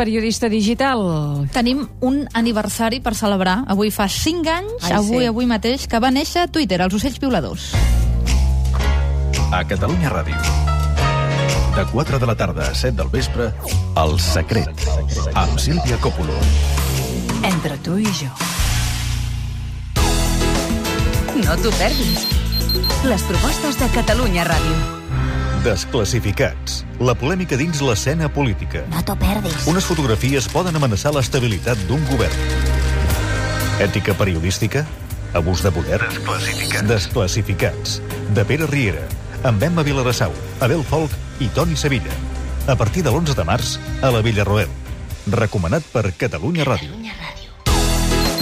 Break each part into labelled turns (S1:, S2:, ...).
S1: periodista digital.
S2: Tenim un aniversari per celebrar. Avui fa 5 anys,
S1: Ai,
S2: Ai, avui,
S1: sí.
S2: sí. avui mateix, que va néixer Twitter, els ocells violadors.
S3: A Catalunya Ràdio. De 4 de la tarda a 7 del vespre, El Secret, amb Sílvia Coppola.
S4: Entre tu i jo. No t'ho perdis. Les propostes de Catalunya Ràdio.
S3: Desclassificats. La polèmica dins l'escena política.
S5: No t'ho perdis.
S3: Unes fotografies poden amenaçar l'estabilitat d'un govern. Ètica periodística? Abús de poder? Desclassificats. Desclassificats. De Pere Riera, amb Emma Vilarassau, Abel Folk i Toni Sevilla. A partir de l'11 de març, a la Villarroel. Recomanat per Catalunya Ràdio.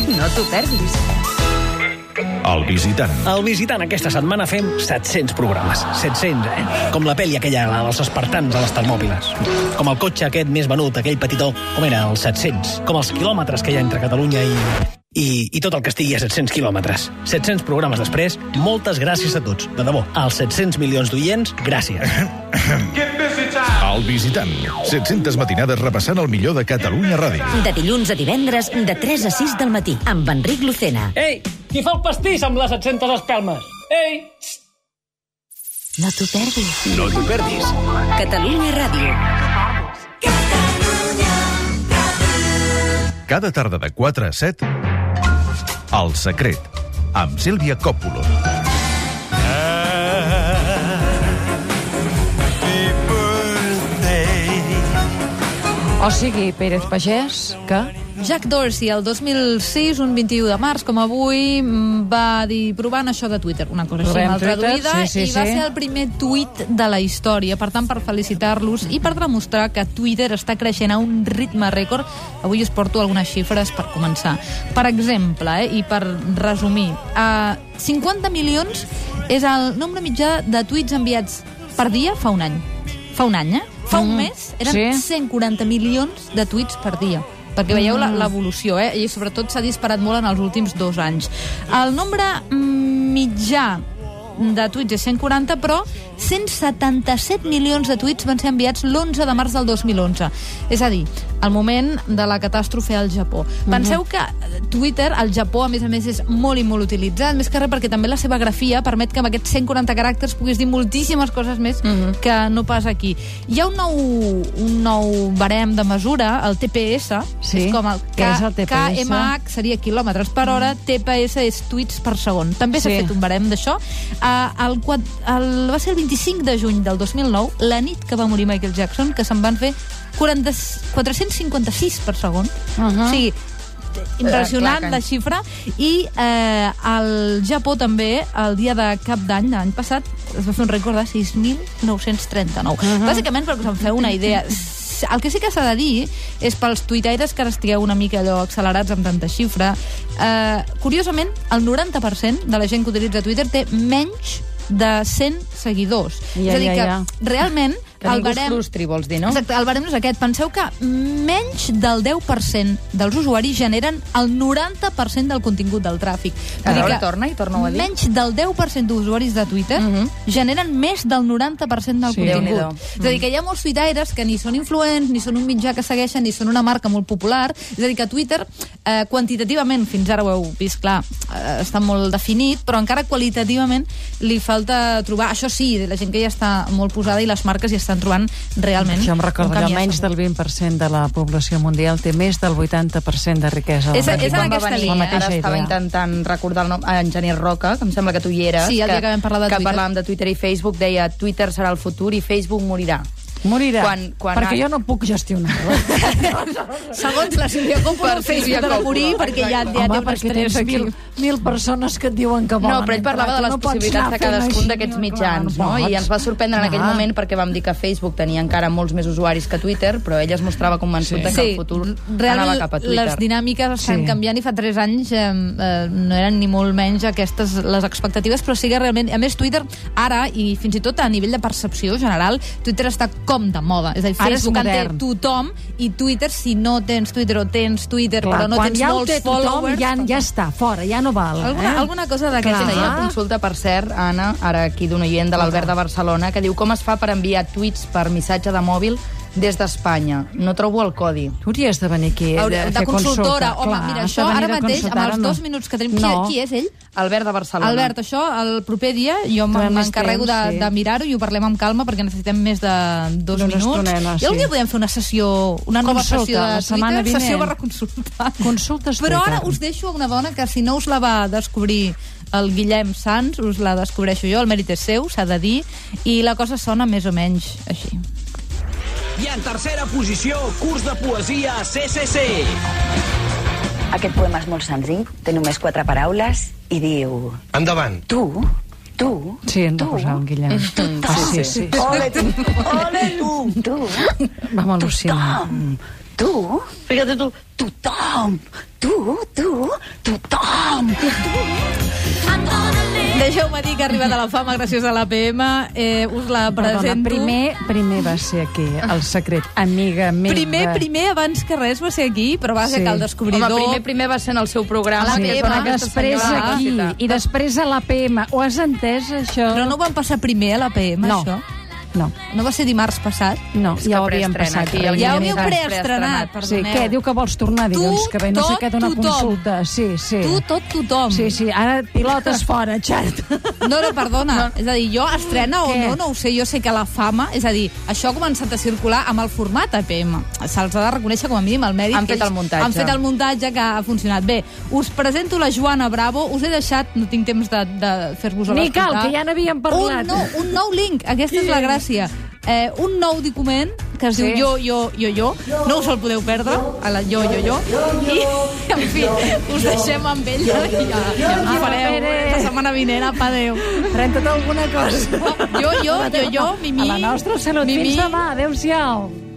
S4: No t'ho perdis.
S3: El visitant.
S6: Al Visitant aquesta setmana fem 700 programes. 700, eh? Com la pel·li aquella, la dels espartans a les Termòpiles. Com el cotxe aquest més venut, aquell petitó, com era, els 700. Com els quilòmetres que hi ha entre Catalunya i... I, i tot el que estigui a 700 quilòmetres. 700 programes després, moltes gràcies a tots. De debò, als 700 milions d'oients, gràcies.
S3: El visitant. 700 matinades repassant el millor de Catalunya Ràdio.
S7: De dilluns a divendres, de 3 a 6 del matí, amb Enric Lucena.
S6: Ei, qui fa el pastís amb les 700 espelmes? Ei!
S5: No t'ho perdis.
S3: No t'ho perdis.
S7: Catalunya Ràdio.
S3: Cada tarda de 4 a 7, El Secret, amb Sílvia Còpolo.
S1: O sigui, Pérez Pagès, que...
S2: Jack Dorsey, el 2006, un 21 de març, com avui, mm, va dir provant això de Twitter, una cosa així
S1: Provem
S2: mal
S1: Twitter,
S2: traduïda,
S1: sí, sí,
S2: i va
S1: sí.
S2: ser el primer tuit de la història. Per tant, per felicitar-los i per demostrar que Twitter està creixent a un ritme rècord, avui us porto algunes xifres per començar. Per exemple, eh, i per resumir, eh, 50 milions és el nombre mitjà de tuits enviats per dia fa un any. Fa un any, eh? Fa un
S1: Mm,
S2: mes eren
S1: sí.
S2: 140 milions de tuits per dia perquè veieu la- l'evolució, eh? i sobretot s'ha disparat molt en els últims dos anys. El nombre mm, mitjà de tuits és 140, però 177 milions de tuits van ser enviats l'11 de març del 2011. És a dir, al moment de la catàstrofe al Japó. Penseu que eh, Twitter, al Japó, a més a més, és molt i molt utilitzat, més que res perquè també la seva grafia permet que amb aquests 140 caràcters puguis dir moltíssimes coses més que no pas aquí. Hi ha un nou, un nou barem de mesura, el TPS,
S1: Sí,
S2: és com el,
S1: què és el TPS?
S2: KMH, seria quilòmetres per hora, TPS és tuits per segon. També s'ha
S1: Mm. Sí.
S2: fet un barem d'això. Uh, el, quad- el, va ser el 25 de juny del 2009, la nit que va morir Michael Jackson, que se'n van fer 40, 456 per segon. Uh
S1: Ahà.
S2: -huh. O sigui, impressionant
S1: Eh, clar que-
S2: la xifra i eh, al Japó també el dia de cap d'any de l'any passat es va fer un rècord de 6.939 uh -huh. bàsicament perquè us en feu una idea S- el que sí que s'ha de dir és pels tuitaires que ara estigueu una mica allò accelerats amb tanta xifra eh, curiosament el 90% de la gent que utilitza Twitter té menys de 100 seguidors
S1: Ja,
S2: és a dir
S1: ja,
S2: que
S1: ja.
S2: realment
S8: Que
S2: el
S8: ningú es
S2: barem
S8: frustri, vols dir, no?
S2: Exacte, el barem és aquest. Penseu que menys del 10% dels usuaris generen el 90% del contingut del tràfic. Vull dir
S8: Ara
S2: que
S8: torna i torna-ho a dir.
S2: Menys del 10% d'usuaris de Twitter generen més del 90% del
S1: Mhm. Sí.
S8: Déu-n'hi-do.
S2: contingut. És a dir, que hi ha molts tuitaires que ni són influents, ni són un mitjà que segueixen, ni són una marca molt popular. És a dir, que Twitter, eh, quantitativament, fins ara ho heu vist, clar, eh, està molt definit, però encara qualitativament li falta trobar... Això sí, la gent que ja està molt posada i les marques hi estan trobant realment
S1: Jo em
S2: un
S1: recordo que
S2: camí a
S1: menys
S2: seguir.
S1: del 20% de la població mundial té més del 80% de riquesa.
S2: És-
S1: del
S2: és en
S1: món.
S2: aquesta línia,
S1: La
S8: Ara
S1: mateixa
S8: estava
S1: idea.
S8: intentant recordar el nom a en Genís Roca, que em sembla que tu hi eres.
S2: Sí, el dia que vam parlar de
S8: que
S2: Twitter.
S8: parlàvem de Twitter i Facebook, deia Twitter serà el futur i Facebook morirà.
S1: Morirà,
S8: Quan- quan
S1: perquè
S8: ha-
S1: jo no puc eh? gestionar-ho.
S2: Segons la Sílvia Coppola,
S8: Per
S2: Facebook
S8: Sílvia
S2: ha de
S8: Coppola,
S2: morir perquè ja, ja té
S1: Home,
S2: un
S1: perquè tens
S2: estrès aquí.
S1: mil, mil persones que et diuen que volen
S8: No, però ell parlava de les
S1: no pots
S8: possibilitats
S1: anar
S8: de
S1: fent
S8: cadascun
S1: així,
S8: d'aquests
S1: clar, Ah,
S8: mitjans, no?
S1: pots.
S8: I ens va sorprendre en aquell
S1: Clar.
S8: moment perquè vam dir que Facebook tenia encara molts més usuaris que Twitter, però ell es mostrava convençut de Eh, que el futur anava cap a Twitter.
S2: les dinàmiques estan
S1: Sí.
S2: sí. canviant i fa 3 anys eh, eh, no eren ni molt menys aquestes les expectatives, però sí que realment... A més, Twitter ara, i fins i tot a nivell de percepció general, Twitter està com de moda. És a dir,
S1: Ara és
S2: Facebook en té
S1: modern.
S2: tothom i Twitter, si no tens Twitter o tens Twitter,
S1: Clar,
S2: però no
S1: quan
S2: tens
S1: ja ho
S2: molts
S1: té tothom,
S2: followers...
S1: ja, ja està, fora, ja no val.
S2: Alguna,
S1: eh?
S2: alguna cosa d'aquesta.
S1: Clar.
S8: Hi ha
S2: Ah.
S8: consulta, per cert, Anna, ara aquí d'un oient de l'Albert de Barcelona, que diu com es fa per enviar tuits per missatge de mòbil des d'Espanya. No trobo el codi.
S1: Tu hauries de venir aquí
S2: Hauré-
S1: a
S2: de
S1: fer consulta.
S2: consultora. Home,
S1: Clar,
S2: mira,
S1: has
S2: això
S1: de venir
S2: ara
S1: a
S2: mateix, amb
S1: consultar,
S2: els
S1: no.
S2: dos minuts que tenim... Qui,
S1: No.
S2: qui és ell?
S8: Albert de Barcelona.
S2: Albert, això el proper dia jo m-
S1: Donem més
S2: m'encarrego de,
S1: temps, sí.
S2: de mirar-ho i ho parlem amb calma perquè necessitem més de dos
S1: D'una
S2: minuts.
S1: estonena,
S2: I algun
S1: sí.
S2: dia podem fer una sessió, una nova
S1: Consulta,
S2: sessió de
S1: la setmana
S2: Twitter, sessió
S1: vinent.
S2: barra consulta.
S1: Consulta
S2: Però ara
S1: estreta.
S2: us deixo una dona que si no us la va descobrir el Guillem Sans, us la descobreixo jo, el mèrit és seu, s'ha de dir, i la cosa sona més o menys així.
S9: I en tercera posició, curs de poesia a CCC.
S7: Aquest poema és molt senzill, té només quatre paraules i diu...
S10: Endavant.
S7: Tu, tu,
S1: Sí, hem de posar un Guillem. Ah, sí, sí.
S7: Ole tu, ole tu, tu,
S1: Vam al·lucinar.
S7: tothom, tu, fíjate tu, tothom, tu, tu, tothom,
S2: Deixeu-me dir que ha arribat a la fama gràcies a l'APM. Eh, us la
S1: Perdona,
S2: presento.
S1: primer, primer va ser aquí, el secret. Amiga meva.
S2: primer, primer, abans que res, va ser aquí, però va ser
S1: Sí.
S2: que el
S8: Home,
S2: descobridor...
S8: primer, primer va ser en el seu programa.
S2: A
S1: Sí,
S2: la
S8: que
S2: teva,
S8: són
S1: però
S8: aquestes
S1: després
S8: senyores de la
S1: aquí,
S8: ciutat.
S1: i després a la PM. Ho has entès, això?
S2: Però no ho van passar primer eh, a l'APM,
S1: no.
S2: això?
S1: No,
S2: No va ser dimarts passat?
S1: no,
S8: És que
S1: ja ho havíem
S8: preestrena,
S1: passat. eh?
S8: aquí,
S1: ja
S8: el
S2: Ja ho
S1: havíem
S2: havíeu
S1: passat.
S2: preestrenat,
S1: Sí,
S2: perdoneu.
S1: què? Diu que vols tornar dilluns
S2: Tu,
S1: que ve, no sé
S2: tot,
S1: què, d'una
S2: tothom.
S1: consulta. Sí, sí.
S2: Tu, tot, tothom.
S1: Sí, sí, ara pilotes fora, xat.
S2: No, no, perdona. No. És a dir, jo estrena o
S1: Què?
S2: no, no ho sé. Jo sé que la fama... És a dir, això ha començat a circular amb el format APM. Se'ls ha de reconèixer com a mínim el mèrit.
S8: Han
S2: que
S8: fet
S2: ells
S8: el muntatge.
S2: Han fet el muntatge que ha funcionat bé. Us presento la Joana Bravo. Us he deixat... No tinc temps de, de fer-vos-ho
S1: Ni cal, que ja n'havíem parlat.
S2: Un nou, un nou link, aquesta és la gràcia. Eh, un nou document que es
S1: Sí.
S2: diu Jo, jo, jo, jo. No us el podeu perdre, a la Jo, jo, jo. I, en fi, us deixem amb ell i ja, ja ens fareu
S1: Pere.
S2: la setmana vinent. Apa, adéu.
S1: Renta't alguna cosa.
S2: Jo, jo, jo, jo, Mimi.
S1: A la nostra salut.
S2: Mimi.
S1: Fins demà. Adéu-siau.